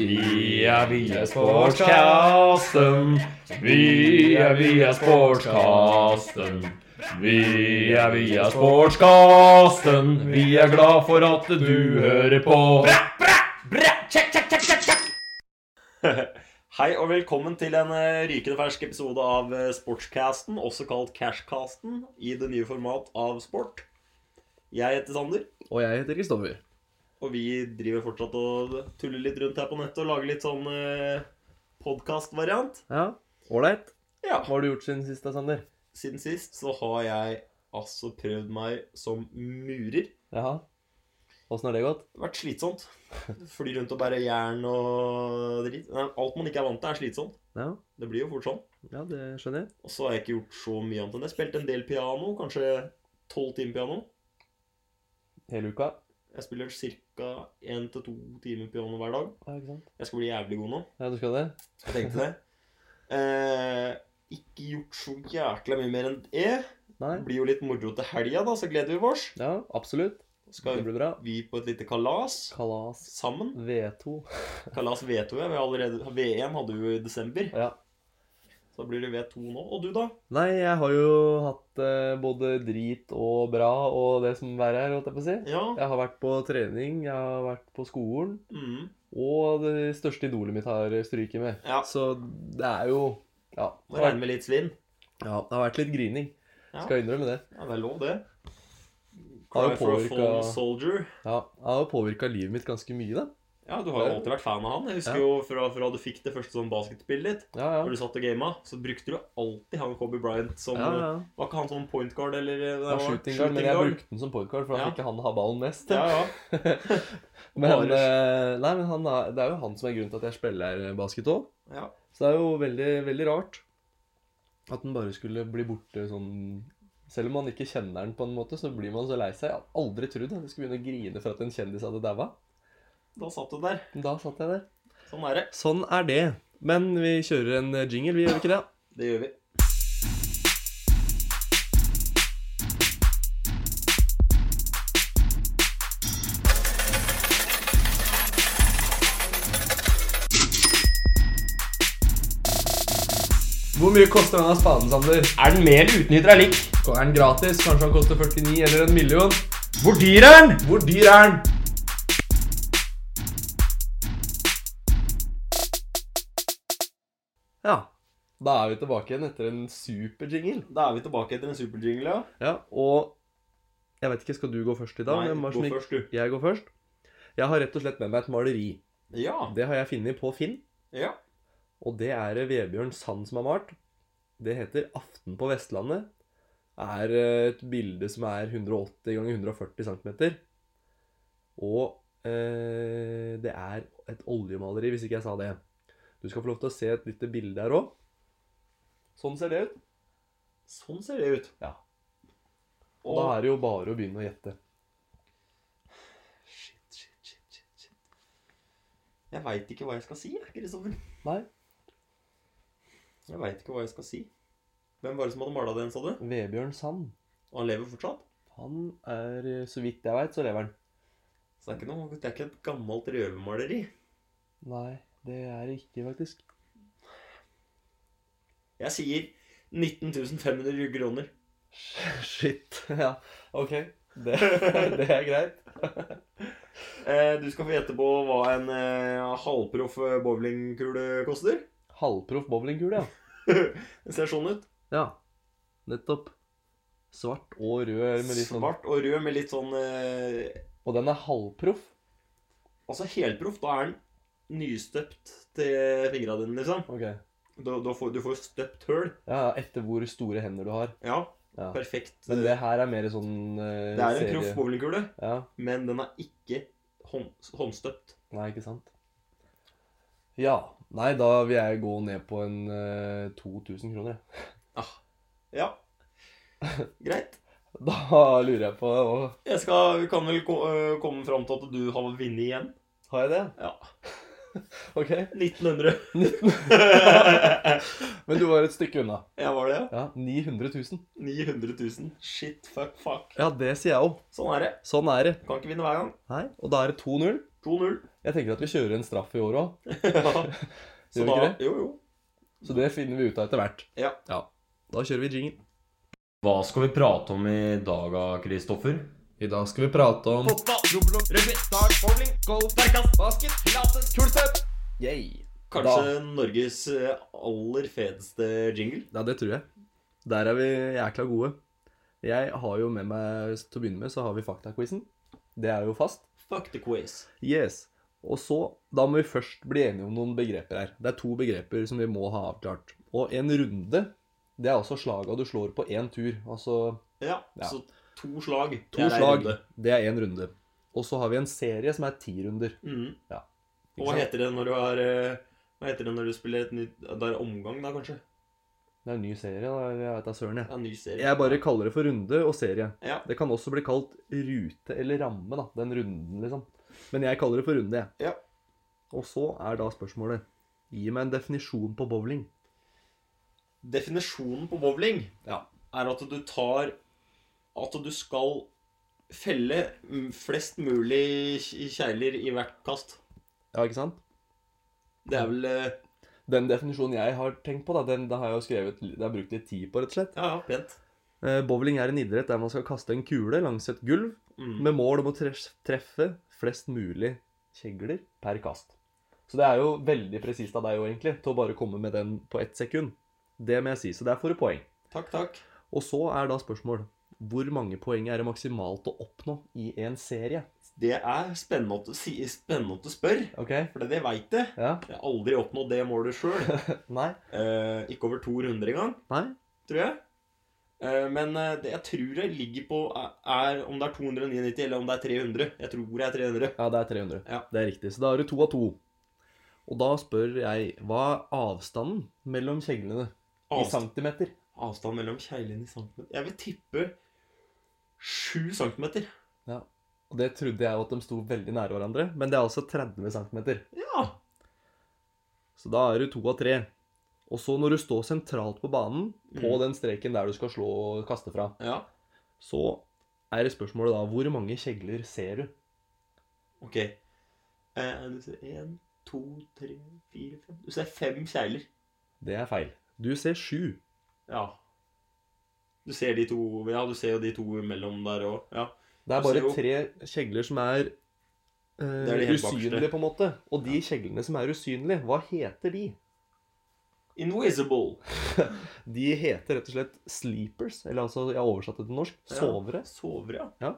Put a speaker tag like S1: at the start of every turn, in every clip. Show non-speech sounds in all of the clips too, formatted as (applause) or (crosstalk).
S1: Vi er via sportskasten. Vi er via sportskasten. Vi er via sportskasten. Vi er glad for at du hører på.
S2: Hei og velkommen til en eh, rykende fersk episode av eh, Sportscasten, også kalt Cashcasten, i det nye format av sport. Jeg heter Sander,
S1: Og jeg heter Kristoffer.
S2: og vi driver fortsatt og tuller litt rundt her på nettet og lager litt sånn eh, podcast-variant.
S1: Ja, Ålreit.
S2: Ja.
S1: Hva har du gjort siden sist, da, Sander?
S2: Siden sist så har jeg altså prøvd meg som murer.
S1: Jaha. Åssen har det gått?
S2: Det har vært slitsomt. Fly rundt og bære jern og dritt. Nei, Alt man ikke er vant til, er slitsomt.
S1: Ja,
S2: Det blir jo fort sånn.
S1: ja det skjønner jeg.
S2: Og så har jeg ikke gjort så mye annet enn det. Jeg spilte en del piano, kanskje tolv timer piano.
S1: Hele uka.
S2: Jeg spiller ca. 1-2 timer piano hver dag.
S1: Ja, ikke sant?
S2: Jeg skal bli jævlig god nå.
S1: Ja, du skal det?
S2: Jeg tenkte det. Eh, ikke gjort så jækla mye mer enn det.
S1: Nei?
S2: Det blir jo litt moro til helga, da, så gleder vi oss.
S1: Ja, absolutt. Det
S2: Skal
S1: blir bra.
S2: vi på et lite kalas
S1: Kalas
S2: sammen.
S1: V2.
S2: Kalas V2 jeg. Vi har allerede, VM hadde vi jo i desember.
S1: Ja.
S2: Så da blir det V2 nå. Og du, da?
S1: Nei, jeg har jo hatt eh, både drit og bra og det som verre er, holdt jeg på å si.
S2: Ja.
S1: Jeg har vært på trening, jeg har vært på skolen,
S2: Mm.
S1: og det største idolet mitt har stryket med.
S2: ja.
S1: Så det er jo Ja.
S2: Må regne med litt svinn.
S1: ja det har vært litt grining.
S2: Ja.
S1: Skal innrømme det.
S2: Ja, det er lov, det.
S1: Har
S2: Cry
S1: jo
S2: for a
S1: påvirka-
S2: fallen soldier.
S1: Ja, Det har jo påvirka livet mitt ganske mye, da.
S2: Ja, du har jo alltid vært fan av han. Jeg husker
S1: Ja.
S2: jo fra, fra du fikk det første sånn basketbildet ditt.
S1: Ja, ja.
S2: Når du satt og gama, så brukte du alltid han Kobe Bryant som
S1: ja, ja.
S2: Var ikke han sånn point guard eller
S1: Det
S2: eh,
S1: var
S2: hva var det?
S1: shooting guard, men jeg
S2: guard?
S1: brukte den som point guard, for da
S2: Ja.
S1: fikk han ha ballen mest.
S2: Ja, ja.
S1: Men,
S2: Bare-
S1: eh, nei, men han er, det er jo han som er grunnen til at jeg spiller basket òg.
S2: ja.
S1: Så det er jo veldig, veldig rart at den bare skulle bli borte sånn Selv om man ikke kjenner den, på en måte, så blir man så lei seg. Jeg hadde aldri trodd at jeg skulle begynne å grine for at en kjendis hadde daua.
S2: Da satt du der.
S1: Men da satt jeg der.
S2: Sånn er det.
S1: Sånn er det. Men vi kjører en eh, jingle, vi gjør ikke det?
S2: Det gjør vi.
S1: Hvor mye koster denne spaden, Sander?
S2: Er den med eller uten hydraulikk?
S1: Er den gratis? Kanskje den koster 49 eller en million?
S2: Hvor dyr er den?
S1: Hvor dyr er den? Ja. Da er vi tilbake igjen etter en super jingle.
S2: Da er vi tilbake etter en superjingle, ja.
S1: Ja, og jeg vet ikke, skal du gå først i dag? Hvem
S2: Nei,
S1: var som
S2: gå
S1: gikk-
S2: først, du.
S1: Jeg går først. Jeg har rett og slett med meg et maleri.
S2: Ja.
S1: Det har jeg funnet på Finn,
S2: Ja.
S1: og det er eh, Vebjørn Sand som har malt. Det heter 'Aften på Vestlandet'. Er eh, et bilde som er 180 ganger 140 cm. Og eh, det er et oljemaleri, hvis ikke jeg sa det. Du skal få lov til å se et lite bilde her òg. Sånn ser det ut.
S2: Sånn ser det ut.
S1: Ja. Og da
S2: Og
S1: er det jo bare å begynne å gjette.
S2: Shit, shit, shit, shit, shit. Jeg veit ikke hva jeg skal si, jeg, Kristoffer.
S1: Nei,
S2: Jeg veit ikke hva jeg skal si. Hvem var det som hadde mala den, sa du?
S1: Vebjørn Sand.
S2: Og han lever fortsatt?
S1: Han er, eh, så vidt jeg veit, så lever han.
S2: Så det er ikke, noe, det er ikke et gammelt røvermaleri.
S1: Nei, det er det ikke, faktisk.
S2: Jeg sier 19.500 kroner.
S1: (laughs) Shit. Ja, OK. Det, (laughs) det er greit.
S2: Eh, du skal få gjette på hva en eh, halvproff bowlingkule koster.
S1: Halvproff bowlingkule, ja.
S2: Det ser sånn ut.
S1: Ja, nettopp. Svart og rød med litt sånn
S2: Svart og rød med litt sånn eh,
S1: Og den er halvproff?
S2: Altså helproff, da er den nystøpt til fingra dine, liksom.
S1: Ok. Ja,
S2: Da, da får, du får støpt høl.
S1: ja, etter hvor store hender du har.
S2: Ja,
S1: Ja.
S2: perfekt.
S1: Men det her er mer sånn uh,
S2: det er en proff bowlingkule,
S1: Ja.
S2: men den er ikke hånd, håndstøpt.
S1: Nei, ikke sant. Ja. Nei, da vil jeg gå ned på en eh, 2000 kroner, jeg.
S2: Ah. Ja. (laughs) Greit.
S1: Da lurer jeg på hva-
S2: Jeg skal, kan vel ko- øh, komme fram til at du har vunnet igjen.
S1: Har jeg det?
S2: Ja.
S1: (laughs) OK.
S2: 1900.
S1: Men du var et stykke unna.
S2: (laughs) ja, var det, ja.
S1: Ja, 900 000.
S2: 900 000. Shit, fuck, fuck.
S1: Ja, det sier jeg òg.
S2: Sånn er det.
S1: Sånn er det.
S2: Kan ikke vinne hver gang.
S1: Nei, og da er det 2-0.
S2: 2-0.
S1: Jeg tenker at vi kjører en straff i år òg,
S2: (laughs) Ja.
S1: Gjør vi
S2: Så da,
S1: ikke
S2: jo, jo.
S1: så det finner vi ut av etter hvert.
S2: Ja.
S1: Da kjører vi jingle.
S3: Hva skal vi prate om i dag, Kristoffer?
S1: I dag skal vi prate om Yay.
S2: Kanskje Norges eh, aller feteste jingle.
S1: Ja, det tror jeg. Der er vi jækla gode. Jeg har jo med meg Til å begynne med så har vi faktaquizen. Det er jo fast.
S2: Fuck the quiz.
S1: Yes. Og så, da må vi først bli enige om noen begreper her. Det er to begreper som vi må ha avklart. Og en runde, det er altså slaga du slår på én tur. Altså
S2: Ja,
S1: Ja.
S2: så to slag. Det
S1: to
S2: er en
S1: slag,
S2: runde.
S1: det er én runde. Og så har vi en serie som er ti runder.
S2: Mhm.
S1: Ja.
S2: Og hva heter det når du har eh, Hva heter det når du spiller et nytt Det er omgang, da, kanskje?
S1: Det er en ny serie, da. Jeg vet da søren, jeg.
S2: Ja, ny serie.
S1: Jeg bare kaller det for runde og serie.
S2: Ja.
S1: Det kan også bli kalt rute eller ramme, da. Den runden, liksom. Men jeg kaller det for runde, jeg.
S2: Ja.
S1: Og så er da spørsmålet Gi meg en definisjon på bowling.
S2: Definisjonen på bowling
S1: Ja.
S2: er at du tar At du skal felle mm, flest mulig kj- kjegler i hvert kast.
S1: Ja, ikke sant?
S2: Det er vel eh,
S1: Den definisjonen jeg har tenkt på, da, den da har jeg jo skrevet Det har jeg brukt litt tid på, rett og slett.
S2: Ja, ja, pent.
S1: Eh, Bowling er en idrett der man skal kaste en kule langs et gulv
S2: Mm.
S1: med mål om å tref- treffe flest mulig kjegler per kast. Så det er jo veldig presist av deg òg, egentlig, til å bare komme med den på ett sekund. Det må jeg si, så der får du poeng.
S2: Takk, takk.
S1: Og så er da spørsmål Hvor mange poeng er det maksimalt å oppnå i en serie?
S2: Det er spennende at du, si, spennende at du spør,
S1: OK?
S2: for det veit jeg.
S1: Ja?
S2: Jeg har aldri oppnådd det målet sjøl.
S1: (laughs) Nei?
S2: Eh, ikke over to runder engang.
S1: Nei?
S2: tror jeg. Eh, Men eh, det jeg tror jeg ligger på, er, er om det er 299 eller om det er 300. Jeg tror det er 300.
S1: Ja, det er 300.
S2: Ja.
S1: Det er riktig. Så da har du to av to. Og da spør jeg Hva er avstanden mellom kjeglene i
S2: Avst
S1: centimeter?
S2: avstand mellom kjeglene i centimeter Jeg vil tippe 7 centimeter.
S1: Og det trodde jeg jo at de sto veldig nære hverandre, men det er altså 30 centimeter.
S2: Ja.
S1: Så da er du to av tre. Og så når du står sentralt på banen, på
S2: Mm.
S1: den streken der du skal slå og kaste fra,
S2: ja.
S1: så er det spørsmålet da Hvor mange kjegler ser du?
S2: Ok. Eh, Du ser 1, 2, 3, 4, 5 Du ser fem kjegler.
S1: Det er feil. Du ser sju.
S2: Ja. Du ser de to Ja, du ser jo de to mellom der òg. Ja.
S1: Det er
S2: Du ser
S1: bare
S2: jo-
S1: tre kjegler som er, eh,
S2: er de helt bakerste.
S1: usynlige, på en måte. Og de kjeglene som er usynlige, hva heter de?
S2: Invisible.
S1: De heter rett og slett sleepers, eller altså, jeg har oversatt det til norsk,
S2: Ja.
S1: sovere.
S2: Sover, ja.
S1: Ja.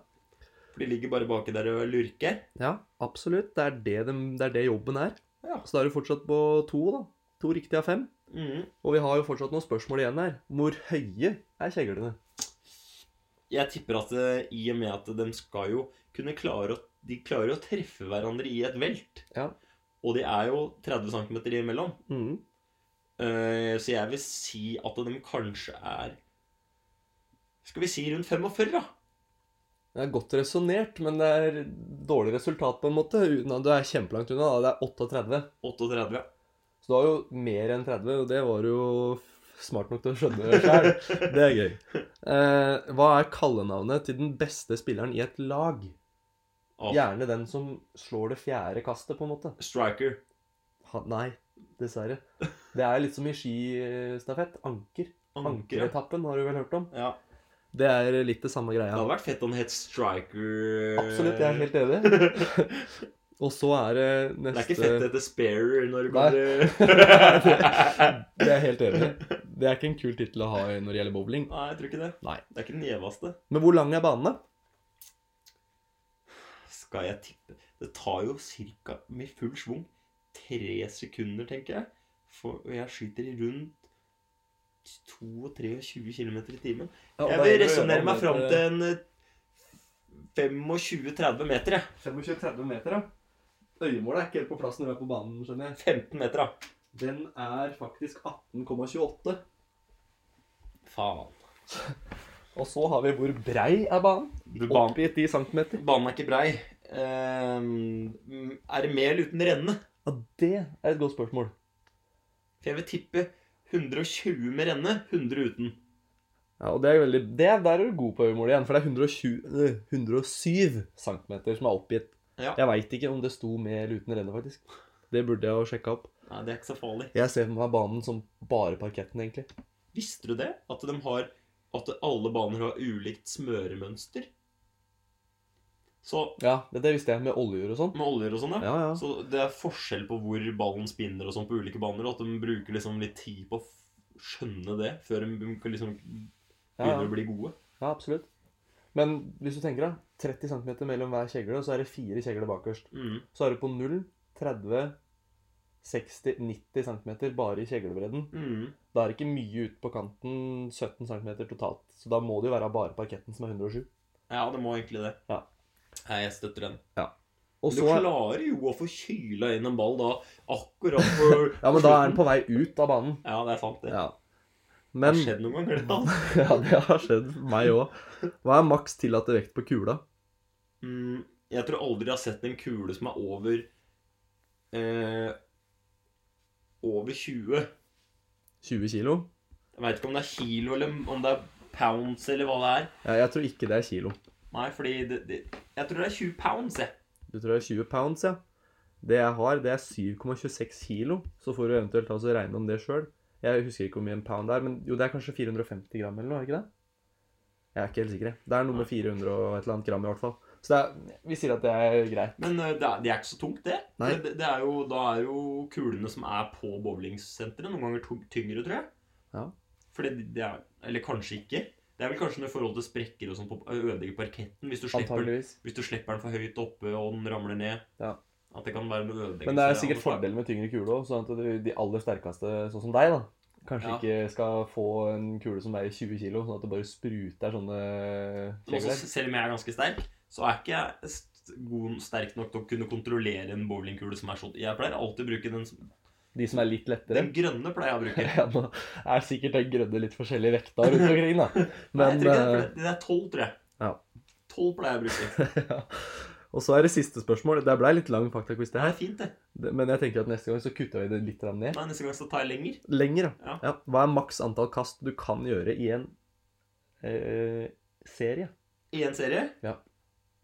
S2: For de ligger bare baki der og lurker.
S1: Ja, absolutt. Det er det, dem- det, er det jobben er.
S2: Ja.
S1: Så da er du fortsatt på to, da. To riktige av fem.
S2: Mhm.
S1: Og vi har jo fortsatt noen spørsmål igjen her. Hvor høye er kjeglene?
S2: Jeg tipper at eh, i og med at de skal jo kunne klare å, de klarer å treffe hverandre i et velt.
S1: Ja.
S2: Og de er jo 30 cm imellom.
S1: Mhm.
S2: Eh, så jeg vil si at de kanskje er Skal vi si rundt 45, da?
S1: Det er godt resonnert, men det er dårlig resultat på en måte. Uten at du er kjempelangt unna. Da. Det er 38.
S2: 38.
S1: Så du har jo mer enn 30, og det var du jo smart nok til å skjønne sjøl. (laughs) Det er gøy. Eh, hva er kallenavnet til den beste spilleren i et lag?
S2: Av
S1: Gjerne den som slår det fjerde kastet, på en måte.
S2: Striker.
S1: Ha, nei, dessverre. Det er litt som i skistafett. Anker.
S2: Anker. ja.
S1: Ankeretappen har du vel hørt om?
S2: Ja.
S1: Det er litt det samme
S2: Det
S1: greia.
S2: hadde vært fett om det het Striker
S1: Absolutt, jeg er
S2: (laughs)
S1: helt enig. Og så er det
S2: Det er
S1: neste
S2: ikke fett det heter Spare når du
S1: Nei. (laughs)
S2: kommer
S1: Det er jeg helt enig. i. Det er ikke en kul tittel å ha når det gjelder bowling.
S2: Nei, jeg tror ikke det.
S1: Nei.
S2: Det er ikke den gjeveste.
S1: Men hvor lang er banen, da?
S2: skal jeg tippe Det tar jo cirka med full svung tre sekunder, tenker jeg. For og jeg skyter i rundt 22-23 km i timen.
S1: Ja,
S2: Jeg
S1: da er
S2: vil
S1: det å
S2: resonnere
S1: gjøre
S2: meg fram
S1: om
S2: til en eh, 25-30 meter, jeg.
S1: 25-30 meter, da. Øyemålet er ikke helt på plass når du er på banen, skjønner jeg.
S2: 15 meter, da.
S1: Den er faktisk 18,28.
S2: Faen.
S1: Og så har vi hvor brei er banen.
S2: Du, banen,
S1: Oppgitt i centimeter.
S2: banen er ikke brei. Ehm, er det med eller uten renne?
S1: Ja, det er et godt spørsmål.
S2: For jeg vil tippe 120 med renne, 100 uten.
S1: Ja, og det er veldig, det, er- Der er du god på øyemålet igjen, for det er 120, eh, 107 centimeter som er oppgitt.
S2: Ja.
S1: Jeg veit ikke om det sto med eller uten renner, faktisk. Det burde jeg jo sjekka opp.
S2: Nei, det er ikke så farlig.
S1: Jeg ser for meg banen som bare parketten, egentlig.
S2: Visste du det? At, de har, at alle baner har ulikt smøremønster? Så
S1: Ja, det, det visste jeg, med oljer og sånn.
S2: med oljer og sånn, ja.
S1: Ja, ja.
S2: Så det er forskjell på hvor ballen spinner og sånn på ulike baner, og at de bruker liksom litt tid på å f- skjønne det før de kan liksom
S1: Ja,
S2: begynner
S1: ja.
S2: å bli gode.
S1: ja absolutt. Men hvis du tenker deg 30 cm mellom hver kjegle, og så er det fire kjegler bakerst.
S2: Mm.
S1: Så er du på 0, 30, 60, 90 cm bare i kjeglebredden.
S2: Mm.
S1: Da er det ikke mye ut på kanten, 17 cm totalt. Så da må det jo være bare parketten som er 107.
S2: Ja, det må egentlig det.
S1: Ja.
S2: Nei, jeg støtter den.
S1: Og
S2: Du
S1: så er,
S2: klarer jo å få kyla inn en ball da, akkurat på
S1: (laughs) ja, men da er den på vei ut av banen.
S2: Ja, det er sant, det.
S1: Ja.
S2: Det
S1: Men
S2: har skjedd noen ganger, det. da.
S1: (laughs) Ja, det har skjedd meg òg. Hva er maks tillatte vekt på kula?
S2: Mm, jeg tror aldri jeg har sett en kule som er over eh, Over 20.
S1: 20 kilo?
S2: Jeg veit ikke om det er kilo, eller om det er pounds, eller hva det er.
S1: Ja, jeg tror ikke det er kilo.
S2: Nei, fordi det, det, Jeg tror det er 20 pounds, jeg.
S1: Du tror det er 20 pounds, ja. Det jeg har, det er 7,26 kilo. Så får du eventuelt altså regne om det sjøl. Jeg husker ikke hvor mye en pound er, men jo, det er kanskje 450 gram eller noe, er det ikke det? Jeg er ikke helt sikker. jeg. Det er noe med 400 og et eller annet gram i hvert fall. Så det er, vi sier at det er greit.
S2: Men eh, det er, det er ikke så tungt, det.
S1: Nei.
S2: Det, det er jo, da er jo kulene som er på bowlingsenteret, noen ganger tung- tyngre, tror jeg.
S1: Ja.
S2: Fordi det- det er Eller kanskje ikke. Det er vel kanskje noe i forhold til sprekker og sånn på ødelegger parketten. Hvis du, slipper, den-
S1: Antageligvis.
S2: hvis du slipper den for høyt oppe og den ramler ned.
S1: Ja.
S2: At det kan være noe ødeleggelse.
S1: Men det er
S2: av
S1: sikkert
S2: noe slag.
S1: fordelen med tyngre kule òg, sånn at du, de aller sterkeste, sånn som deg, da, kanskje
S2: Ja.
S1: ikke skal få en kule som veier 20 kilo, sånn at det bare spruter sånne
S2: Men også,
S1: kjegler.
S2: selv om jeg er ganske sterk, så er ikke jeg st- god, sterk nok til å kunne kontrollere en bowlingkule som er sånn. Jeg pleier alltid å bruke den, som-
S1: De som er litt lettere.
S2: den grønne. pleier jeg å bruke.
S1: (laughs) Ja, nå er sikkert den grønne litt forskjellige vekta rundt omkring, da.
S2: (laughs) Nei, jeg
S1: Men eh,
S2: tror ikke det, for det- det er tolv, tror jeg.
S1: Ja.
S2: Tolv pleier jeg å bruke.
S1: eh, (laughs) ja. Og så er det siste spørsmål. Det blei litt lang faktaquiz, det
S2: Det
S1: her.
S2: er fint, det.
S1: Det- Men jeg tenker at neste gang så kutter vi det litt grann ned.
S2: Nei, Neste gang så tar jeg lenger.
S1: Lenger, ja.
S2: Ja.
S1: ja. Hva er maks antall kast du kan gjøre i en eh, serie?
S2: I en serie.
S1: Ja.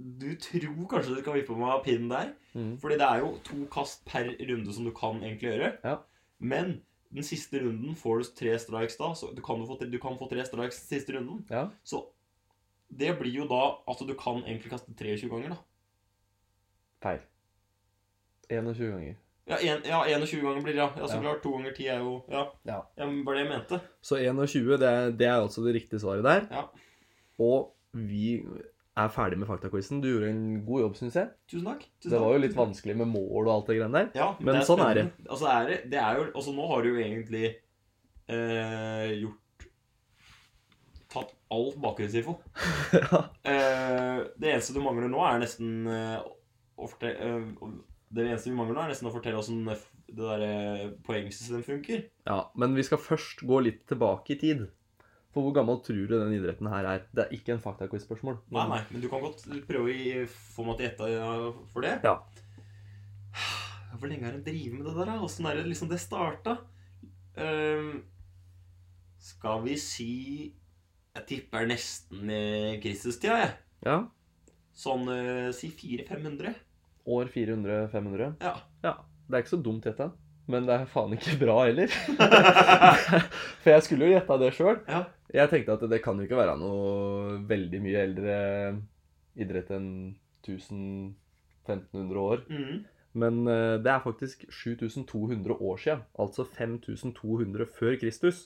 S2: Du tror kanskje du kan vippe meg av pinnen der,
S1: Mm.
S2: fordi det er jo to kast per runde som du kan egentlig gjøre.
S1: Ja.
S2: Men den siste runden får du tre strikes da, så du kan, jo få, du kan få tre strikes den siste runden.
S1: Ja.
S2: Så det blir jo da at du kan egentlig kaste 23 ganger, da.
S1: Feil. 21 ganger.
S2: Ja, en, ja 21 ganger blir det, ja. ja så
S1: Ja.
S2: klart. To ganger 10 er jo Ja.
S1: Ja.
S2: men var det jeg mente.
S1: Så 21, det er, det er altså det riktige svaret der.
S2: Ja.
S1: Og vi er ferdig med faktaquizen. Du gjorde en god jobb, syns jeg.
S2: Tusen takk. Tusen
S1: Det var jo
S2: takk.
S1: litt vanskelig med mål og alt det greiene der.
S2: Ja,
S1: men sånn er det.
S2: spennende. Altså, er det, det er jo, altså, nå har du jo egentlig eh, gjort Tatt all bakgrunnsinfo.
S1: (laughs) Ja.
S2: Eh, det eneste du mangler nå, er nesten eh, å fortelle eh, Det eneste vi mangler nå, er nesten å fortelle åssen det derre poengsystemet funker.
S1: ja, Men vi skal først gå litt tilbake i tid. For hvor gammel tror du den idretten her er? Det er ikke en faktaquiz-spørsmål.
S2: Nei, nei, men du kan godt prøve å gi- få meg til å gjette ja, for det.
S1: Ja.
S2: Hvor lenge har de drevet med det der? da? Åssen er det liksom det starta? Ehm, skal vi si Jeg tipper nesten eh, Kristustida, jeg.
S1: Ja.
S2: Sånn eh, si 400-500.
S1: År 400-500.
S2: Ja.
S1: ja. Det er ikke så dumt gjetta. Men det er faen ikke bra
S2: (laughs)
S1: heller. For jeg skulle jo gjetta det sjøl.
S2: Ja.
S1: Jeg tenkte at det kan jo ikke være noe veldig mye eldre idrett enn 1000-1500 år.
S2: Mhm.
S1: Men eh, det er faktisk 7200 år siden, altså 5200 før Kristus,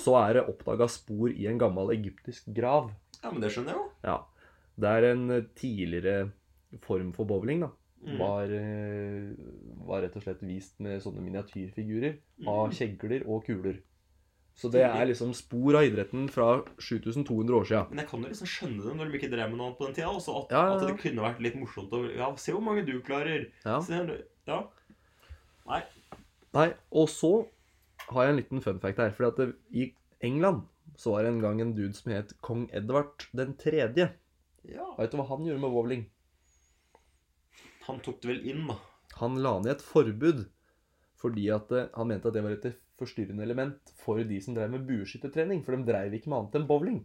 S1: så er det oppdaga spor i en gammel egyptisk grav.
S2: ja, men det skjønner jeg jo.
S1: Ja, Det er en eh, tidligere form for bowling, da.
S2: Mhm.
S1: Var, eh, var rett og slett vist med sånne miniatyrfigurer
S2: Mhm.
S1: av kjegler og kuler. Så det er liksom spor av idretten fra 7200 år siden.
S2: Men jeg kan jo liksom skjønne det når de ikke drev med noe annet på den tida. Også at,
S1: Ja, ja,
S2: at
S1: ja.
S2: det kunne vært litt morsomt å Ja, se hvor mange du klarer.
S1: Ja.
S2: Se, du- ja.
S1: Nei, og så har jeg en liten fun fact her. Fordi at det, i England så var det en gang en dude som het kong Edvard den tredje.
S2: ja.
S1: Veit du hva han gjorde med bowling?
S2: Han tok det vel inn, da.
S1: Han la ned et forbud fordi at eh, han mente at det var et forstyrrende element for de som drev med bueskyttertrening. For de dreiv ikke med annet enn (laughs) bowling.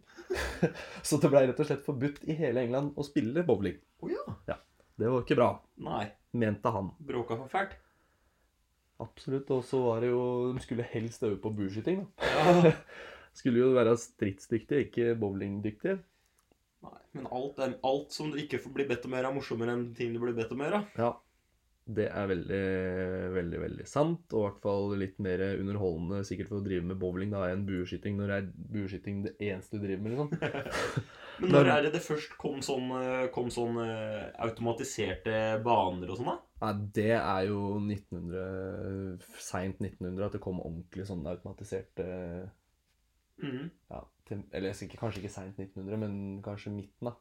S1: så det blei rett og slett forbudt i hele England å spille bowling.
S2: Å ja.
S1: Ja. Det var ikke bra,
S2: Nei.
S1: mente han.
S2: Bråka for
S1: (laughs)
S2: fælt.
S1: Absolutt. Og så var det jo De skulle helst øve på buskyting, da.
S2: Ja.
S1: Skulle jo være stridsdyktige, ikke bowlingdyktige.
S2: Nei, men alt, er, alt som du ikke får bli bedt om å gjøre, er morsommere enn ting du blir bedt om å gjøre.
S1: Ja. Det er veldig, veldig veldig sant, og i hvert fall litt mer underholdende sikkert for å drive med bowling da, enn bueskyting, når det er bueskyting det eneste du driver med. liksom.
S2: Men når er det det først kom sånn, eh, kom sånn eh, automatiserte baner og sånn, da?
S1: Nei, Det er jo 1900, seint 1900 at det kom ordentlig sånn automatiserte
S2: Mhm.
S1: ja, tem- Eller jeg skal ikke, kanskje ikke seint 1900, men kanskje midten, da.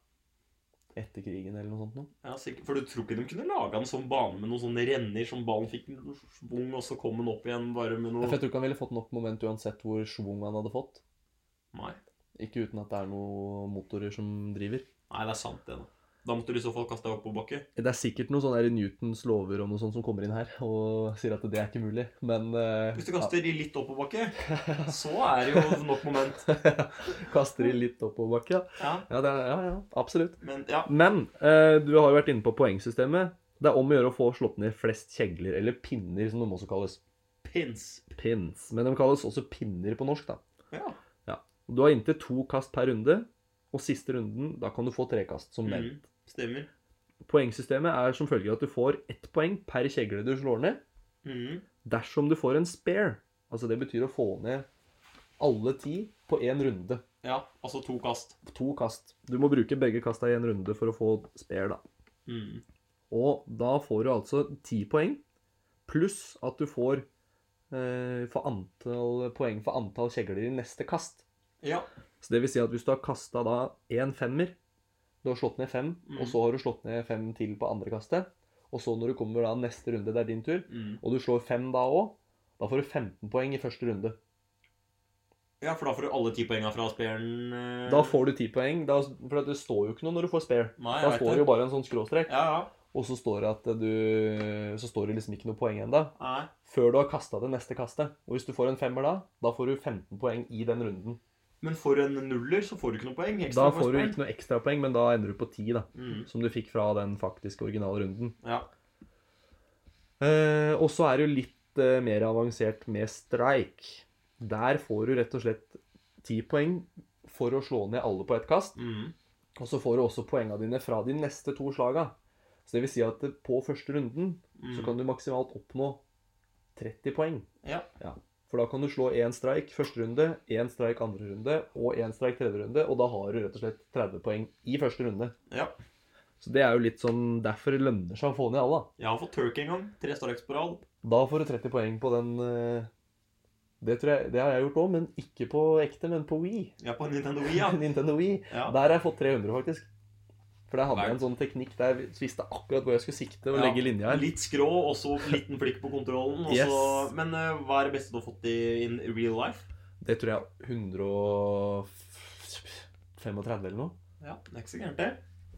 S1: Etter krigen eller noe sånt noe.
S2: Ja, sikkert. For du tror ikke de kunne laga en sånn bane med noen sånne renner som ballen fikk en svung, og så kom den opp igjen bare med
S1: For
S2: noe
S1: jeg tror ikke han ville fått nok moment uansett hvor schwung han hadde fått.
S2: Nei.
S1: Ikke uten at det er noen motorer som driver.
S2: Nei, det er sant, det. Da Da måtte du i så fall kaste deg opp på bakke.
S1: Det er sikkert noen sånne der Newtons lover og noe sånt som kommer inn her og sier at det er ikke mulig, men eh,
S2: Hvis du kaster de litt opp på bakke, så er det jo nok moment.
S1: ja, (laughs) Kaster de litt oppover bakken, ja.
S2: Ja,
S1: Ja, det er, ja, ja, absolutt.
S2: men ja.
S1: Men eh, du har jo vært inne på poengsystemet. Det er om å gjøre å få slått ned flest kjegler, eller pinner, som de også kalles.
S2: Pins.
S1: Pins. Men de kalles også pinner på norsk, da.
S2: Ja.
S1: Du har inntil to kast per runde, og siste runden, da kan du få tre kast, som nevnt.
S2: Mm, stemmer.
S1: Poengsystemet er som følger at du får ett poeng per kjegle du slår ned.
S2: Mm.
S1: Dersom du får en spare, altså det betyr å få ned alle ti på én runde.
S2: Ja, altså to kast.
S1: To kast. Du må bruke begge kasta i én runde for å få spare, da.
S2: Mm.
S1: Og da får du altså ti poeng, pluss at du får eh, for antall, poeng for antall kjegler i neste kast.
S2: Ja.
S1: Så det vil si at hvis du har kasta da én femmer Du har slått ned fem,
S2: Mm.
S1: og så har du slått ned fem til på andre kastet. Og så når du kommer da neste runde, det er din tur,
S2: Mm.
S1: og du slår fem da òg, da får du 15 poeng i første runde.
S2: ja, for da får du alle ti poenga fra spilleren. eh.
S1: Da får du 10 poeng. Da, for at det står jo ikke noe når du får spare.
S2: Nei, jeg
S1: Da
S2: vet
S1: står det
S2: det.
S1: jo bare en sånn skråstrek,
S2: Ja, ja.
S1: og så står det at du Så står det liksom ikke noe poeng ennå.
S2: Nei.
S1: Før du har kasta det neste kastet. Og hvis du får en femmer da, da får du 15 poeng i den runden.
S2: Men for en nuller så får du ikke noe poeng. Ekstra
S1: Da får du ikke noe ekstrapoeng, men da ender du på 10, da.
S2: Mm.
S1: Som du fikk fra den faktiske originale runden.
S2: Ja.
S1: Eh, og så er det jo litt eh, mer avansert med strike. Der får du rett og slett 10 poeng for å slå ned alle på ett kast.
S2: Mm.
S1: Og så får du også poengene dine fra de neste to slaga. Så det vil si at på første runden
S2: Mm.
S1: så kan du maksimalt oppnå 30 poeng.
S2: Ja.
S1: For da kan du slå én streik første runde, én streik andre runde og én streik tredje runde, og da har du rett og slett 30 poeng i første runde.
S2: ja.
S1: Så det er jo litt sånn Derfor lønner det seg å få ned alle. da.
S2: Jeg har fått turkey en gang. Tre strikes på rad.
S1: Da får du 30 poeng på den eh, Det, tror jeg, det har jeg gjort òg, men ikke på ekte, men på Wii.
S2: Jeg er på Nintendo Wii, ja.
S1: (laughs) Nintendo Wii.
S2: ja.
S1: Der har jeg fått 300, faktisk. For der hadde jeg
S2: Verdt.
S1: en sånn teknikk der jeg visste akkurat hvor jeg skulle sikte og
S2: Ja.
S1: legge linja her.
S2: Litt skrå, og så liten flikk på kontrollen. Og så...
S1: Yes.
S2: Men eh, hva er det beste du har fått i in real life?
S1: Det tror jeg 135 eller noe.
S2: Ja, det er ikke så gærent, det.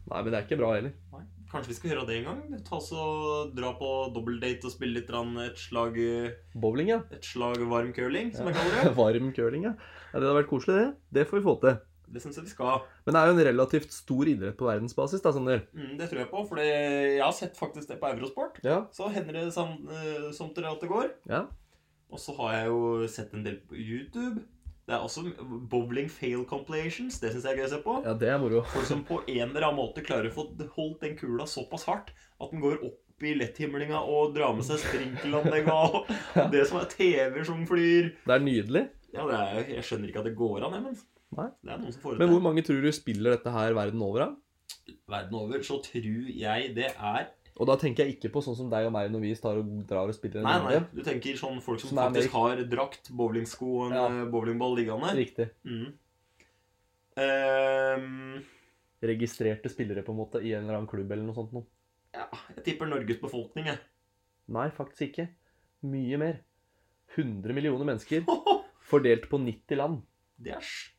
S1: Nei, men det er ikke bra heller.
S2: Nei. Kanskje vi skal gjøre det en gang? Ta oss og Dra på dobbeldate og spille litt grann et slag, et
S1: Bowling, ja. (laughs)
S2: slag varm curling, som jeg kaller det.
S1: Varm curling, ja. ja. Det hadde vært koselig, det. Det får vi få til.
S2: Det syns jeg vi skal.
S1: Men det er jo en relativt stor idrett på verdensbasis, da, Sander.
S2: Mm, det tror jeg på, for det- jeg har sett faktisk det på Eurosport.
S1: Ja.
S2: Så hender det sam, eh, som til at det går.
S1: ja.
S2: Og så har jeg jo sett en del på YouTube. Det er også bowling fail compilations. Det syns jeg er gøy å se på.
S1: Ja, det er moro.
S2: Folk som på en eller annen måte klarer å få holdt den kula såpass hardt at den går opp i letthimlinga og drar med seg sprinkelanlegga
S1: (laughs)
S2: og det som er TV-er som flyr.
S1: Det er nydelig.
S2: Ja, det er, Jeg skjønner ikke at det går an, jeg, men
S1: Nei.
S2: det er noen som får det
S1: Men hvor
S2: til.
S1: mange tror du spiller dette her verden over, da?
S2: Verden over så tror jeg det er
S1: Og da tenker jeg ikke på sånn som deg og meg når vi tar og drar og spiller en
S2: Nei, nei,
S1: runde.
S2: du tenker sånn folk som,
S1: Som er
S2: faktisk har drakt, bowlingsko og
S1: Ja.
S2: en eh, bowlingball liggende.
S1: Riktig.
S2: Mm. Ehm,
S1: Registrerte spillere, på en måte, i en eller annen klubb eller noe sånt noe.
S2: Ja, jeg tipper Norges befolkning, jeg.
S1: Nei, faktisk ikke. Mye mer. 100 millioner mennesker fordelt på 90 land.
S2: Det er, s-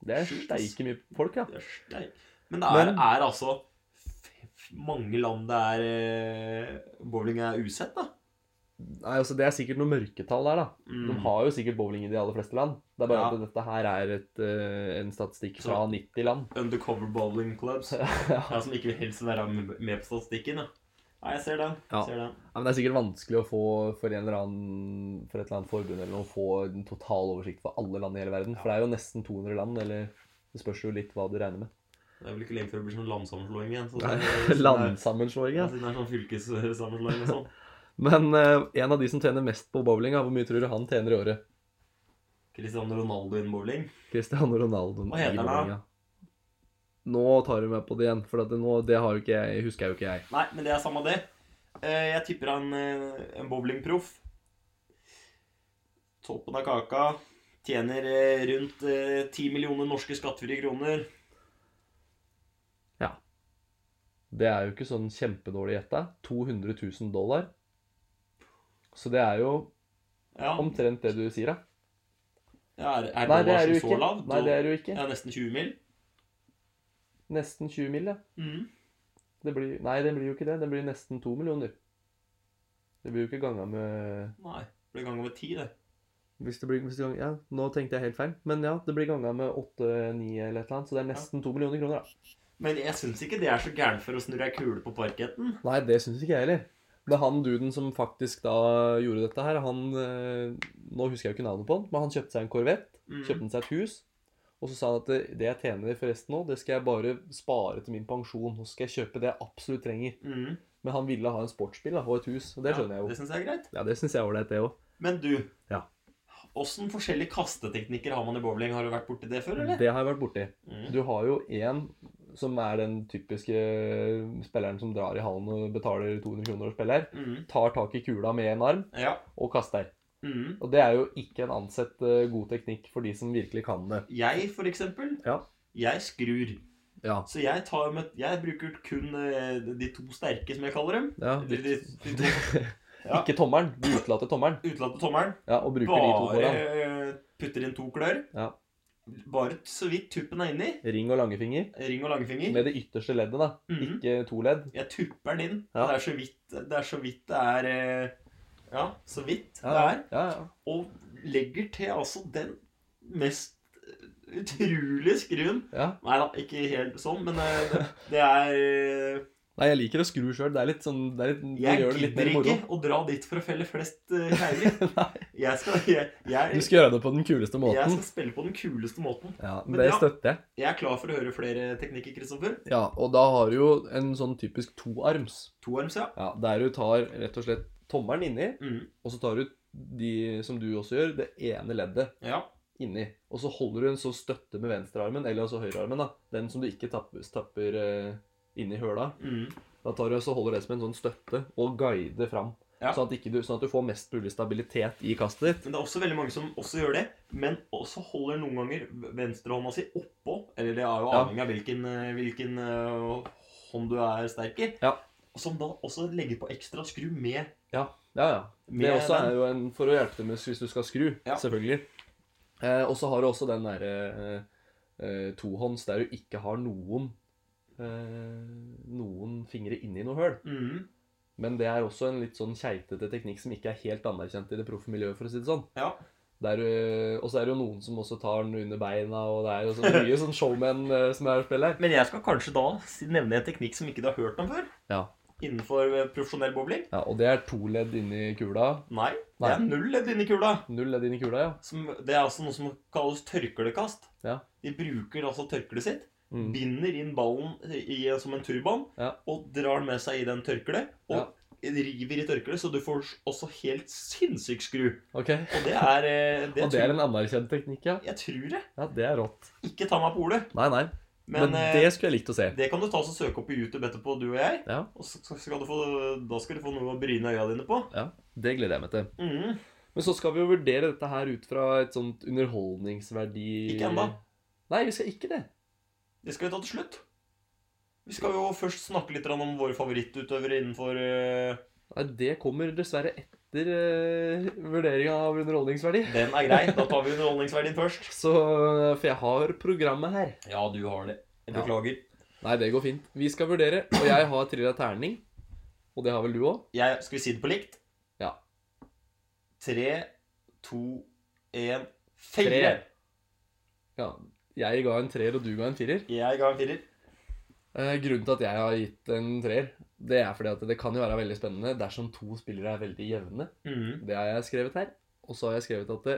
S1: Det er
S2: Sjukt, ass.
S1: steike mye folk, ja.
S2: det er s- nei. Men det er,
S1: Men-
S2: er altså f- f- mange land det er eh, bowling er usett, da.
S1: Nei, altså Det er sikkert noen mørketall der, da. De
S2: Mm.
S1: har jo sikkert bowling i de aller fleste land. Det er bare
S2: Ja.
S1: at dette her er et, eh, en statistikk fra 90 land.
S2: Undercover bowling clubs.
S1: ja.
S2: Ja, som ikke vil helst være med med på statistikken. Da. Nei, jeg ser den.
S1: Ja.
S2: Ser den.
S1: Ja, men det er sikkert vanskelig å få for, en eller annen, for et eller annet forbund eller noe, få en total oversikt for alle land i hele verden. For det er jo nesten 200 land, eller det spørs jo litt hva du regner med.
S2: Det er vel ikke lenge før det blir sånn landsammenslåing igjen. Så det,
S1: (laughs) Landsammenslåing,
S2: Ja,
S1: ja.
S2: siden det er sånn fylkessammenslåing og sånn.
S1: Men eh, en av de som tjener mest på bowling, ja, hvor mye tror du han tjener i året?
S2: Cristiano Ronaldo in bowling.
S1: Cristiano Ronaldo.
S2: Hva heter han da?
S1: han, Nå tar du meg på det igjen, for at det, nå, det har jo ikke jeg, husker jeg jo ikke jeg.
S2: Nei, men det er samme det. Eh, Jeg tipper han eh, en bowlingproff. Toppen av kaka. Tjener eh, rundt eh, 10 millioner norske skattefrie kroner.
S1: Det er jo ikke sånn kjempedårlig gjetta. 200 000 dollar. Så det er jo
S2: Ja,
S1: omtrent det du sier, da.
S2: ja er,
S1: Nei, det
S2: er
S1: er
S2: dollarsen
S1: det jo
S2: så
S1: ikke.
S2: lav?
S1: Nei, det er det jo
S2: Ja,
S1: ikke.
S2: nesten 20 mil.
S1: Nesten 20 mill., ja.
S2: Mm.
S1: Det blir, nei, det blir jo ikke det. Det blir nesten 2 millioner. Det blir jo ikke ganga med
S2: Nei, ble ganger med 10, det.
S1: hvis det blir, hvis det gang, Ja, nå tenkte jeg helt feil. Men ja, det blir ganga med 8-9 eller et eller annet. Så det er nesten 2 millioner kroner, da.
S2: Men jeg syns ikke det er så gærent for å snurre ei kule på parketten.
S1: Nei, det syns ikke jeg heller. Det er han duden som faktisk da gjorde dette her. Han eh, Nå husker jeg jo ikke navnet på han, men han kjøpte seg en Corvette.
S2: Mm.
S1: Kjøpte han seg et hus. Og så sa han at det, det jeg tjener forresten nå, det skal jeg bare spare til min pensjon. Og så skal jeg kjøpe det jeg absolutt trenger.
S2: Mm.
S1: Men han ville ha en sportsbil da, og et hus, og det skjønner
S2: ja,
S1: jeg jo.
S2: Det synes jeg er greit.
S1: Ja, det syns jeg er ålreit, det òg.
S2: Men du,
S1: Ja.
S2: åssen forskjellige kasteteknikker har man i bowling? Har du vært borti det før, eller?
S1: Det har jeg vært borti.
S2: Mm.
S1: Du har jo én som er den typiske eh, spilleren som drar i hallen og betaler 200 kroner og spiller.
S2: Mm.
S1: Tar tak i kula med en arm
S2: Ja.
S1: og kaster.
S2: Mm.
S1: Og det er jo ikke en ansett eh, god teknikk for de som virkelig kan det.
S2: Jeg, for eksempel,
S1: Ja.
S2: jeg skrur.
S1: Ja.
S2: Så jeg, tar med, jeg bruker kun eh, de to sterke, som jeg kaller dem.
S1: ja
S2: De,
S1: de,
S2: de, de to (laughs) Ja.
S1: Ikke tommelen. Du utelater tommelen
S2: utelatte tommelen.
S1: ja, og bruker de to
S2: Bare
S1: foran.
S2: eh, putter inn to klør.
S1: Ja.
S2: Bare så vidt tuppen er inni.
S1: Ring og langefinger.
S2: Ring og langfinger.
S1: Med det ytterste leddet, da.
S2: Mhm.
S1: Ikke to ledd.
S2: Jeg tupper den inn.
S1: Ja.
S2: Det er så vidt det er, så vidt det er eh, Ja, så vidt det er.
S1: ja, ja.
S2: Og legger til altså den mest utrolige skruen.
S1: ja.
S2: Nei da, ikke helt sånn, men eh, det, det er eh,
S1: Nei, jeg liker å skru sjøl. Det er litt sånn det, er litt, det
S2: Jeg
S1: gjør det litt
S2: gidder
S1: mer moro.
S2: ikke å dra dit for å felle flest
S1: (laughs)
S2: eh, kjegler. jeg, skal, jeg,
S1: Du
S2: jeg,
S1: skal gjøre det på den kuleste
S2: jeg
S1: måten.
S2: skal spille på den kuleste måten.
S1: Ja,
S2: Men
S1: Det
S2: ja.
S1: støtter jeg.
S2: Jeg er klar for å høre flere teknikker, Kristoffer.
S1: Ja, og da har du jo en sånn typisk toarms.
S2: Toarms, ja.
S1: Ja, der du tar rett og slett tommelen inni,
S2: Mm,
S1: og så tar du de, som du også gjør, det ene leddet
S2: ja.
S1: inni. Og så holder du en så støtte med venstrearmen, eller altså høyrearmen, da. Den som du ikke tapper, tapper eh, inni høla.
S2: Mm,
S1: Da tar du og så holder det som en sånn støtte, og guider fram.
S2: Ja.
S1: Sånn, at ikke du, sånn at du får mest mulig stabilitet i kastet ditt.
S2: Men det er også veldig mange som også gjør det, men også holder noen ganger venstrehånda si oppå. Eller det er jo
S1: Ja.
S2: avhengig av hvilken, eh, hvilken eh, hånd du er sterk i.
S1: Ja.
S2: og Som da også legger på ekstra skru med,
S1: Ja, ja, ja.
S2: med
S1: Det også
S2: den.
S1: er jo en for å hjelpe til med hvis du skal skru,
S2: Ja.
S1: selvfølgelig. Eh, og så har du også den derre eh, eh, tohånds der du ikke har noen eh, noen fingre inni noe høl.
S2: Mm,
S1: Men det er også en litt sånn keitete teknikk som ikke er helt anerkjent i det proffe miljøet, for å si det sånn.
S2: ja.
S1: Der, eh, og så er det jo noen som også tar den under beina, og det er jo så mye sånn showman eh, som er å spille her.
S2: Men jeg skal kanskje da si- nevne en teknikk som ikke du har hørt om før.
S1: Ja.
S2: Innenfor eh, profesjonell bowling.
S1: ja, og det er to ledd inni kula.
S2: Nei, det
S1: Nei.
S2: er null ledd inni kula.
S1: Null ledd inni kula, ja.
S2: Som, det er altså noe som kalles tørklekast.
S1: Ja.
S2: De bruker altså tørkleet sitt,
S1: Mm.
S2: binder inn ballen i, eh, som en turban,
S1: Ja.
S2: og drar den med seg i den tørkleet, og river i tørkleet, så du får også helt sinnssyk skru.
S1: Ok.
S2: Og det er eh, det,
S1: Og det er
S2: tror,
S1: en anerkjent teknikk, ja.
S2: Jeg tror det.
S1: Ja, det er rått.
S2: Ikke ta meg på ordet,
S1: Nei, nei.
S2: men,
S1: Men,
S2: eh,
S1: det skulle jeg likt å se.
S2: det kan du ta og søke opp på YouTube etterpå, du og jeg.
S1: Ja.
S2: Og så så skal du få, da skal du få noe å bryne øya dine på.
S1: Ja, det gleder jeg meg til.
S2: Mhm.
S1: Men så skal vi jo vurdere dette her ut fra et sånt underholdningsverdi
S2: Ikke ennå.
S1: Nei, vi skal ikke det.
S2: Det skal vi ta til slutt. Vi skal jo først snakke litt grann om våre favorittutøvere innenfor eh,
S1: Nei, det kommer dessverre etter uh, vurderinga av underholdningsverdi.
S2: Den er grei. Da tar vi
S1: (laughs)
S2: underholdningsverdien først.
S1: Så eh, For jeg har programmet her.
S2: Ja, du har det. Jeg beklager.
S1: Nei, det går fint. Vi skal vurdere, og jeg har trilla terning. Og det har vel du òg?
S2: Jeg, skal vi si det på likt?
S1: Ja.
S2: Tre, to, én Fire!
S3: Tre.
S1: Ja, jeg ga en treer, og du ga en firer.
S2: Jeg ga en firer.
S1: Eh, grunnen til at jeg har gitt en treer, det er fordi at det kan jo være veldig spennende dersom to spillere er veldig jevne.
S2: Mhm.
S1: Det har jeg skrevet her. Og så har jeg skrevet at det,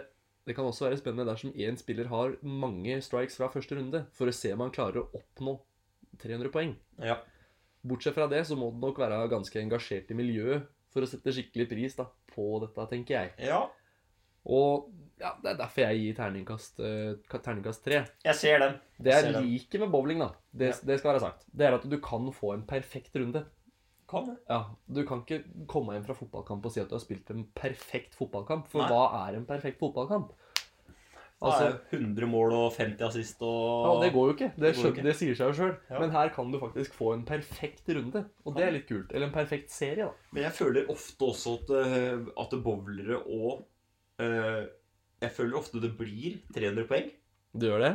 S1: det kan også være spennende dersom én spiller har mange strikes fra første runde, for å se om han klarer å oppnå 300 poeng.
S2: Ja.
S1: Bortsett fra det så må du nok være ganske engasjert i miljøet for å sette skikkelig pris da, på dette, tenker jeg.
S2: ja.
S1: Og ja, det er derfor jeg gir terningkast, eh, ka- terningkast 3.
S2: Jeg ser den.
S1: Det jeg
S2: Ser den.
S1: liker med bowling, da, det, det skal være sagt, det er at du kan få en perfekt runde.
S2: Kan det.
S1: Ja, Du kan ikke komme hjem fra fotballkamp og si at du har spilt en perfekt fotballkamp. For
S2: Nei.
S1: hva er en perfekt fotballkamp?
S2: Altså,
S1: Altså,
S2: 100 mål og 50 assist og
S1: ja, Det går jo ikke. Det,
S2: det går
S1: skjøn-
S2: ikke.
S1: det sier seg jo sjøl.
S2: Ja.
S1: Men her kan du faktisk få en perfekt runde, og det er litt kult. Eller en perfekt serie, da.
S2: Men jeg føler ofte også at, eh, at bowlere og eh, Jeg føler ofte det blir 300 poeng.
S1: Du gjør det?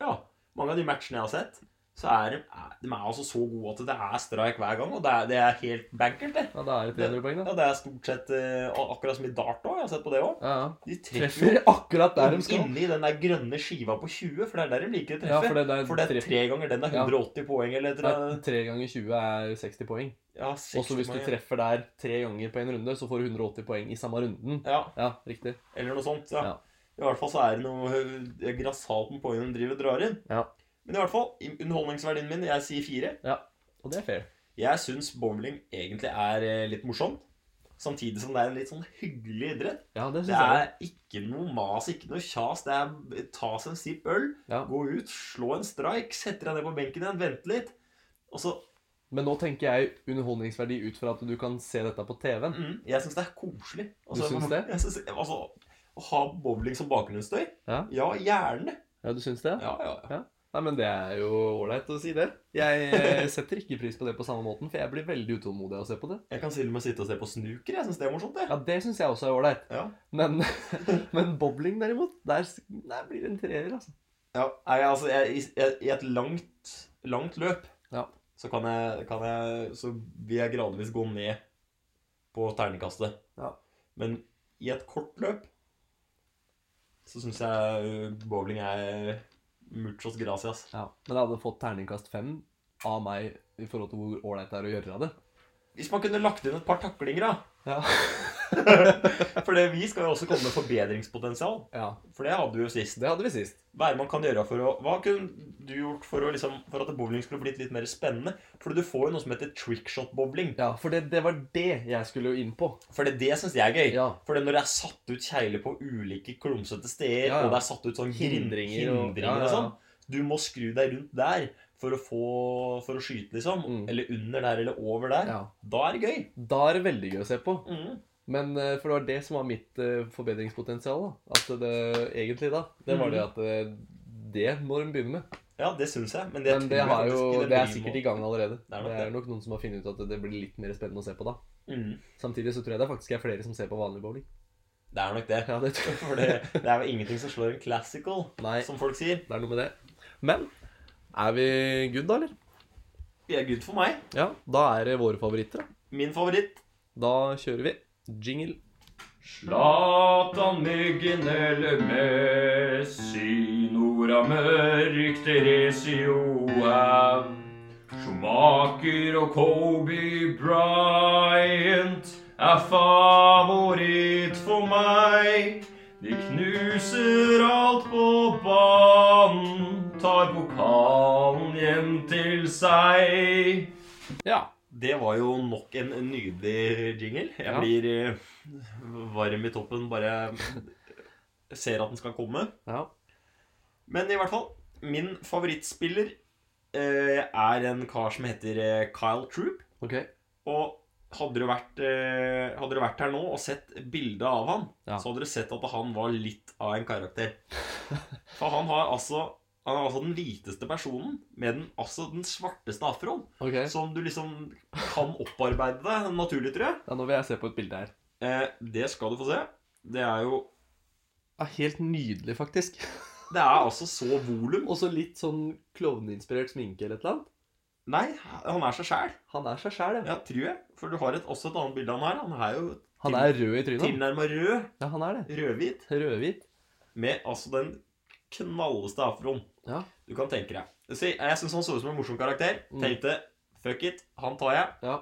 S2: Ja. Mange av de matchene jeg har sett, så er de, er, de er altså så gode at det er strike hver gang. Og det er, det er helt bankert, det.
S1: Ja, da er det 300 poeng, da.
S2: Ja, det er stort sett eh, ak- akkurat som i dart òg. Jeg har sett på det òg.
S1: Ja, ja.
S2: De treffer jo
S1: Treffer (laughs) akkurat der de skal.
S2: inni den der grønne skiva på 20, for det er der de liker å
S1: Ja,
S2: treffe.
S1: for det, det er,
S2: for det er
S1: tre,
S2: tre ganger den er
S1: Ja.
S2: 180 poeng eller et
S1: nei,
S2: eller annet.
S1: tre ganger 20 er 60 poeng.
S2: Ja,
S1: Og så hvis du
S2: 60 poeng,
S1: treffer der tre ganger på en runde, så får du 180 poeng i samme runden.
S2: Ja,
S1: Ja, riktig.
S2: eller noe sånt. Ja.
S1: Ja.
S2: I hvert fall så er det noe eh, grassat med poeng de driver og drar inn.
S1: Ja.
S2: Men i hvert fall, i- underholdningsverdien min, jeg sier fire.
S1: Og det er fair.
S2: Jeg syns bowling egentlig er eh, litt morsomt. Samtidig som det er en litt sånn hyggelig idrett.
S1: Ja, det
S2: Det
S1: syns jeg.
S2: er ikke noe mas, ikke noe kjas. Det er ta seg en sipp øl,
S1: Ja.
S2: gå ut, slå en strike, sette deg ned på benken igjen, vente litt. Og så
S1: Men nå tenker jeg underholdningsverdi ut fra at du kan se dette på TV-en.
S2: mm, Jeg syns det er koselig.
S1: Du syns det?
S2: (laughs) Jeg synes, altså, å ha bowling som bakgrunnsstøy?
S1: Ja.
S2: gjerne.
S1: Ja, du syns det?
S2: Ja, ja, ja.
S1: Nei, men det er jo ålreit å si det. Jeg eh, setter ikke pris på det på samme måten, for jeg blir veldig utålmodig av å se på det.
S2: Jeg kan til og med sitte og se på snooker. Jeg syns det er morsomt, det.
S1: Ja, det syns jeg også er ålreit.
S2: Ja.
S1: Men, (laughs) men bowling, derimot, der, s- der blir det en treer, altså.
S2: Ja, nei, altså, jeg, i, jeg, I et langt, langt løp
S1: Ja.
S2: så kan jeg, kan jeg Så vil jeg gradvis gå ned på ternekastet.
S1: Ja.
S2: Men i et kort løp så syns jeg ø, bowling er muchos gracias.
S1: Ja. Men jeg hadde fått terningkast fem av meg i forhold til hvor ålreit det er å gjøre det.
S2: Hvis man kunne lagt inn et par taklinger, da. (laughs)
S1: Ja.
S2: For det, vi skal jo også komme med forbedringspotensial.
S1: ja.
S2: For det hadde vi jo sist.
S1: Det hadde vi sist.
S2: Hva er det man kan gjøre for å Hva kunne du gjort for, å, liksom, for at bowling skulle blitt litt mer spennende? For du får jo noe som heter trickshot-bowling.
S1: Ja, for det, det var det jeg skulle jo inn på.
S2: For det, det syns jeg er gøy.
S1: Ja.
S2: For det når det er satt ut kjegler på ulike klumsete steder,
S1: Ja, ja.
S2: og det er satt ut sånn grind-
S1: Hindringer og-
S2: hindringer
S1: ja, ja,
S2: og
S1: ja.
S2: sånn Du må skru deg rundt der for å, få, for å skyte, liksom.
S1: Mm.
S2: Eller under der, eller over der.
S1: ja.
S2: Da er det gøy.
S1: Da er det veldig gøy å se på.
S2: Mm.
S1: Men eh, for det var det som var mitt eh, forbedringspotensial. da. At det egentlig, da. Det var
S2: Mhm.
S1: det at eh, Det må de begynne med.
S2: Ja, det syns jeg. Men det,
S1: Men det,
S2: tror jeg
S1: har
S2: faktisk
S1: jo,
S2: ikke
S1: det er
S2: blir
S1: sikkert
S2: noe-
S1: i gang allerede.
S2: Det er nok
S1: Det
S2: det.
S1: er nok noen som har funnet ut at det blir litt mer spennende å se på da.
S2: Mm.
S1: Samtidig så tror jeg det faktisk er flere som ser på vanlig bowling. (laughs)
S2: Det er nok det.
S1: Ja, det (laughs) tror jeg.
S2: (laughs) For det, det er jo ingenting som slår en classical,
S1: Nei,
S2: som folk sier.
S1: det er noe med det. Men er vi good, da, eller?
S2: Vi er good for meg.
S1: Ja, da er det våre favoritter. Da,
S2: Min favoritt
S1: da kjører vi jingle.
S3: Zlatan, Myggen eller Messi, Nordamørk, Theresio Au, Schumacher og Kobe Bryant er favoritt for meg. De knuser alt på banen, tar pokalen hjem til seg.
S1: Ja.
S2: Det var jo nok en nydelig jingle. Jeg
S1: Ja.
S2: blir eh, varm i toppen bare jeg ser at den skal komme.
S1: ja.
S2: Men i hvert fall, min favorittspiller eh, er en kar som heter eh, Kyle Troop.
S1: Ok.
S2: Og hadde dere vært, eh, hadde dere vært her nå og sett bildet av han,
S1: Ja.
S2: så hadde dere sett at han var litt av en
S1: (laughs)
S2: karakter. For han har altså han er altså den hviteste personen med den, altså den svarteste afroen.
S1: ok.
S2: Som du liksom kan opparbeide deg naturlig, tror jeg.
S1: Ja, nå vil jeg se på et bilde her.
S2: Eh, det skal du få se. Det er jo
S1: Ja, helt nydelig, faktisk.
S2: Det er altså så volum.
S1: Og så litt sånn klovneinspirert sminke eller et eller annet.
S2: Nei, han er seg sjæl.
S1: Han er seg sjæl, ja.
S2: Ja, tror jeg. For du har et, også et annet bilde av han her. Han er jo
S1: Han er rød i trynet.
S2: Tilnærma rød.
S1: Ja, han er det.
S2: Rødhvit.
S1: Rødhvit.
S2: Med altså den knalleste afroen
S1: Ja.
S2: du kan tenke deg. Så jeg jeg syns han så ut som en morsom karakter.
S1: Mm.
S2: Tenkte fuck it, han tar jeg.
S1: ja.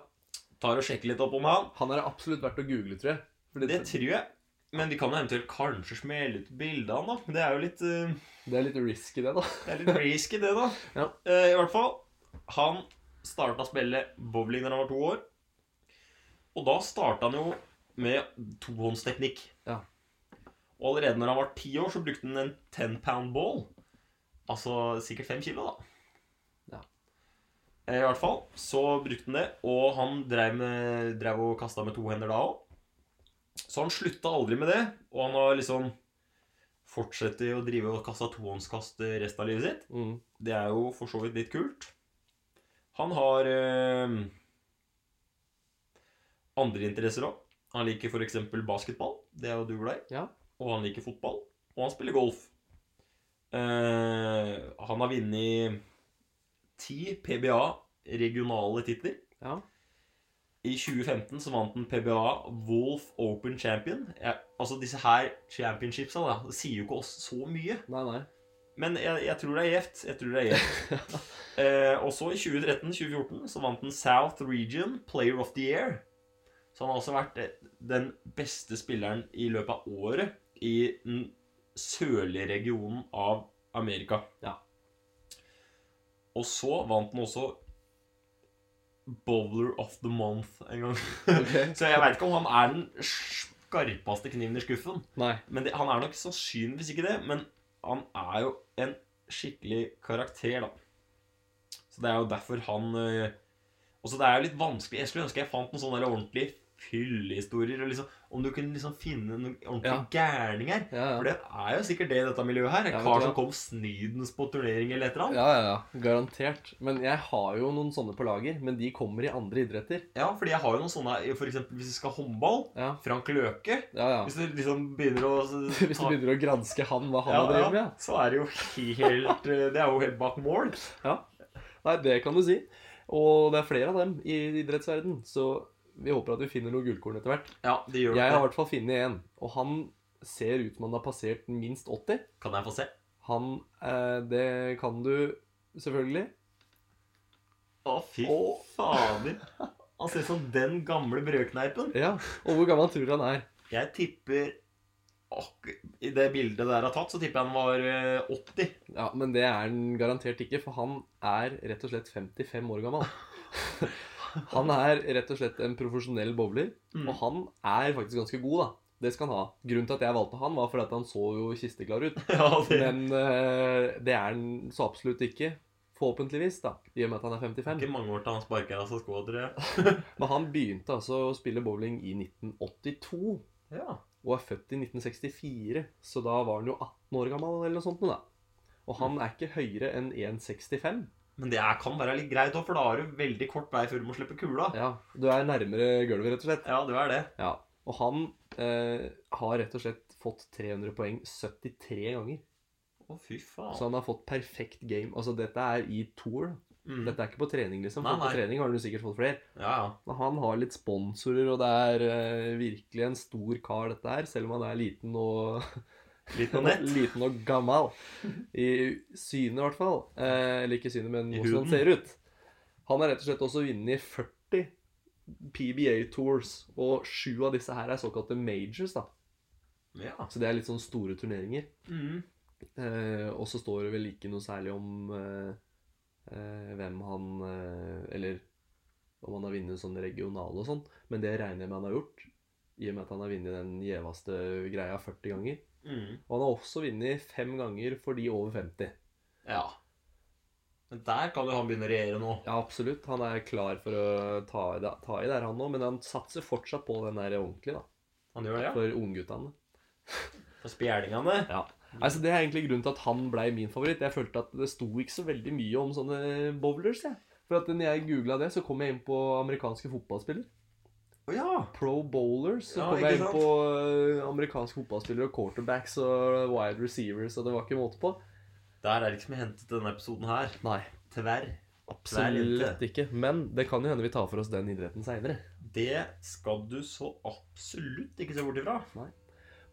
S2: Tar og sjekker litt opp om han.
S1: Han er absolutt verdt å google, tror jeg. Fordi
S2: Det
S1: det,
S2: tror jeg. Men vi kan jo eventuelt kanskje smelle ut bildet av han, da. Men det er jo litt eh,
S1: det er litt risky, det, da.
S2: Det er litt risky, det, da.
S1: Ja.
S2: Eh, I hvert fall. Han starta å spille bowling da han var to år. Og da starta han jo med tohåndsteknikk.
S1: Ja.
S2: Og allerede når han var ti år, så brukte han en ten pound ball. Altså sikkert fem kilo, da.
S1: Ja.
S2: Eh, I hvert fall så brukte han det, og han drev, med, drev og kasta med to hender da òg. Så han slutta aldri med det, og han har liksom fortsatt å drive og kaste tohåndskast resten av livet sitt.
S1: Mm.
S2: Det er jo for så vidt litt kult. Han har eh, andre interesser òg. Han liker f.eks. basketball. Det er jo du glad i.
S1: Ja.
S2: Og han liker fotball. Og han spiller golf. Eh, han har vunnet ti PBA-regionale titler.
S1: Ja.
S2: I 2015 så vant han PBA Wolf Open Champion. Jeg, altså disse her championshipsa da, det sier jo ikke oss så mye.
S1: Nei, nei.
S2: Men jeg, jeg tror det er gjevt. Jeg tror det er gjevt. eh, også i 2013-2014 så vant han South Region Player of the Year. Så han har også vært eh, den beste spilleren i løpet av året i den sørlige regionen av Amerika.
S1: Ja.
S2: Og så vant han også Bowler of the Month en gang.
S1: Ok.
S2: så jeg veit ikke om han er den skarpeste kniven i skuffen.
S1: Nei.
S2: Men det, han er nok sannsynligvis ikke det, men han er jo en skikkelig karakter, da. Så det er jo derfor han øh, Også det er jo litt vanskelig. Jeg skulle ønske jeg fant noen sånne der ordentlige fyllehistorier. og Liksom, om du kunne liksom finne noen ordentlige
S1: Ja.
S2: gærninger.
S1: Ja,
S2: For
S1: ja.
S2: det er jo sikkert det i dette miljøet her. En
S1: Ja, vet
S2: kar
S1: du
S2: som
S1: hva?
S2: kom snydens på turnering eller et eller annet.
S1: Ja, ja, ja. Garantert. Men jeg har jo noen sånne på lager. Men de kommer i andre idretter.
S2: Ja, fordi jeg har jo noen sånne For eksempel hvis vi skal ha håndball.
S1: Ja,
S2: Frank Løke.
S1: ja. ja. (laughs)
S2: Hvis du liksom begynner å
S1: Hvis du
S2: ta-
S1: begynner å granske han, hva han
S2: ja,
S1: har drevet med. ja.
S2: ja, så er det jo helt øh, Det er jo helt bak mål.
S1: Nei, det kan du si. Og det er flere av dem i idrettsverden, så vi håper at vi finner noe gullkorn etter hvert.
S2: Ja, det gjør
S1: Jeg har
S2: det.
S1: i hvert fall funnet en, og han ser ut som han har passert minst 80.
S2: Kan jeg få se?
S1: Han eh, Det kan du selvfølgelig.
S2: Å, fy
S1: Å.
S2: fader. Han ser ut som den gamle brødkneipen.
S1: Ja. Og hvor gammel tror du han er?
S2: Jeg tipper ak- I det bildet der er tatt, så tipper jeg han var eh, 80.
S1: Ja, Men det er han garantert ikke, for han er rett og slett 55 år gammel. (laughs) Han er rett og slett en profesjonell bowler, og han er faktisk ganske god, da. Det skal han ha. Grunnen til at jeg valgte han, var fordi at han så jo kisteklar ut.
S2: (laughs) Ja, det
S1: Men eh, det er han så absolutt ikke. Forhåpentligvis, da, i og med at han er 55.
S2: ikke mange år til han sparker av seg skoa, tror jeg.
S1: Men han begynte altså å spille bowling i 1982,
S2: Ja.
S1: og er født i 1964, så da var han jo 18 år gammel eller noe sånt nå, da. Og han er ikke høyere enn 1,65.
S2: Men det er, kan være litt greit òg, for da har du veldig kort vei før du må slippe kula.
S1: Ja, du er nærmere gulvet, rett og slett.
S2: Ja, du er det.
S1: Ja, og han eh, har rett og slett fått 300 poeng 73 ganger.
S2: Å, fy
S1: Så
S2: faen.
S1: han har fått perfekt game. Altså, dette er i tour. da.
S2: Mm.
S1: Dette er ikke på trening, liksom.
S2: Nei,
S1: For på
S2: nei.
S1: trening har du sikkert fått flere.
S2: Ja, ja.
S1: Men Han har litt sponsorer, og det er eh, virkelig en stor kar, dette her. Selv om han er liten og (laughs)
S2: Litt på nett.
S1: Liten og gammel. I synet, i hvert fall. Eh, eller ikke synet, men
S2: I
S1: hvordan
S2: huden.
S1: han ser ut. Han har rett og slett også vunnet 40 PBA Tours, og sju av disse her er såkalte majors, da.
S2: Ja.
S1: Så det er litt sånn store turneringer.
S2: Mm.
S1: Eh, og så står det vel ikke noe særlig om eh, eh, hvem han eh, Eller om han har vunnet sånn regional og sånn, men det regner jeg med han har gjort. I og med at han har vunnet den gjeveste greia 40 ganger.
S2: Mm.
S1: Og han har også vunnet fem ganger for de over 50.
S2: Ja. Men der kan jo han begynne å regjere nå.
S1: Ja, absolutt. Han er klar for å ta i det, ta i det her, han òg, men han satser fortsatt på den der ordentlig, da.
S2: Han gjør det, ja.
S1: For ungguttene.
S2: For spjælingene.
S1: Ja. Altså, Det er egentlig grunnen til at han blei min favoritt. Jeg følte at det sto ikke så veldig mye om sånne bowlers. jeg. For at når jeg googla det, så kom jeg inn på amerikanske fotballspillere.
S2: Å ja.
S1: Pro bowlers. Så
S2: Ja,
S1: kom
S2: ikke
S1: jeg inn
S2: sant?
S1: på eh, amerikanske fotballspillere og quarterbacks og wide receivers, og det var ikke måte på.
S2: Der er det ikke som jeg hentet denne episoden her.
S1: Nei.
S2: Tverr.
S1: Absolutt
S2: Nei,
S1: ikke. Men det kan jo hende vi tar for oss den idretten seinere.
S2: Det skal du så absolutt ikke se bort ifra.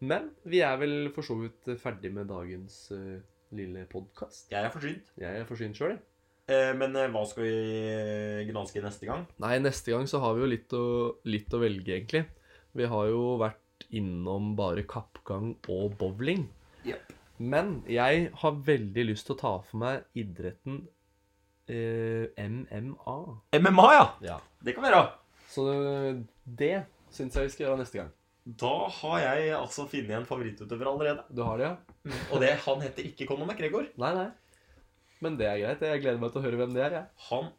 S1: Men vi er vel for så vidt ferdig med dagens eh, lille podkast.
S2: Jeg er forsynt.
S1: Jeg er forsynt sjøl, jeg.
S2: Eh, Men eh, hva skal vi eh, granske neste gang?
S1: Nei, neste gang så har vi jo litt å, litt å velge, egentlig. Vi har jo vært innom bare kappgang og bowling.
S2: Jep.
S1: Men jeg har veldig lyst til å ta for meg idretten eh, MMA.
S2: MMA, ja!
S1: Ja.
S2: Det kan være.
S1: Så eh, det syns jeg vi skal gjøre neste gang.
S2: Da har jeg altså funnet en favorittutøver allerede.
S1: Du har det, ja?
S2: Og det, han heter ikke Conor McGregor.
S1: Nei, nei. Men det er greit. Jeg gleder meg til å høre hvem det er, jeg.
S2: Han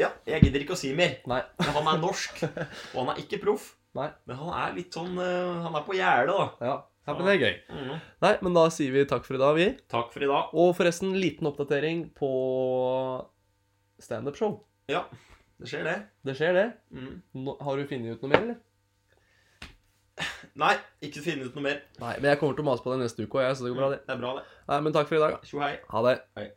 S2: Ja, jeg gidder ikke å si mer.
S1: Nei.
S2: Men han er norsk, og han er ikke proff.
S1: Nei.
S2: Men han er litt sånn eh, Han er på gjerdet, da.
S1: Ja. ja, men det er gøy.
S2: Mhm.
S1: Nei, men da sier vi takk for i dag, vi.
S2: Takk for i dag.
S1: Og forresten, liten oppdatering på standup-show.
S2: Ja, det skjer, det.
S1: Det skjer, det.
S2: Mhm.
S1: Nå- har du funnet ut noe mer, eller?
S2: Nei, ikke finne ut noe mer.
S1: Nei, men jeg kommer til å mase på det neste uke òg, jeg, så det går bra, det.
S2: Det er bra, det.
S1: Nei, men takk for i dag, da.
S2: Tjo hei.
S1: Ha det.
S2: Hei.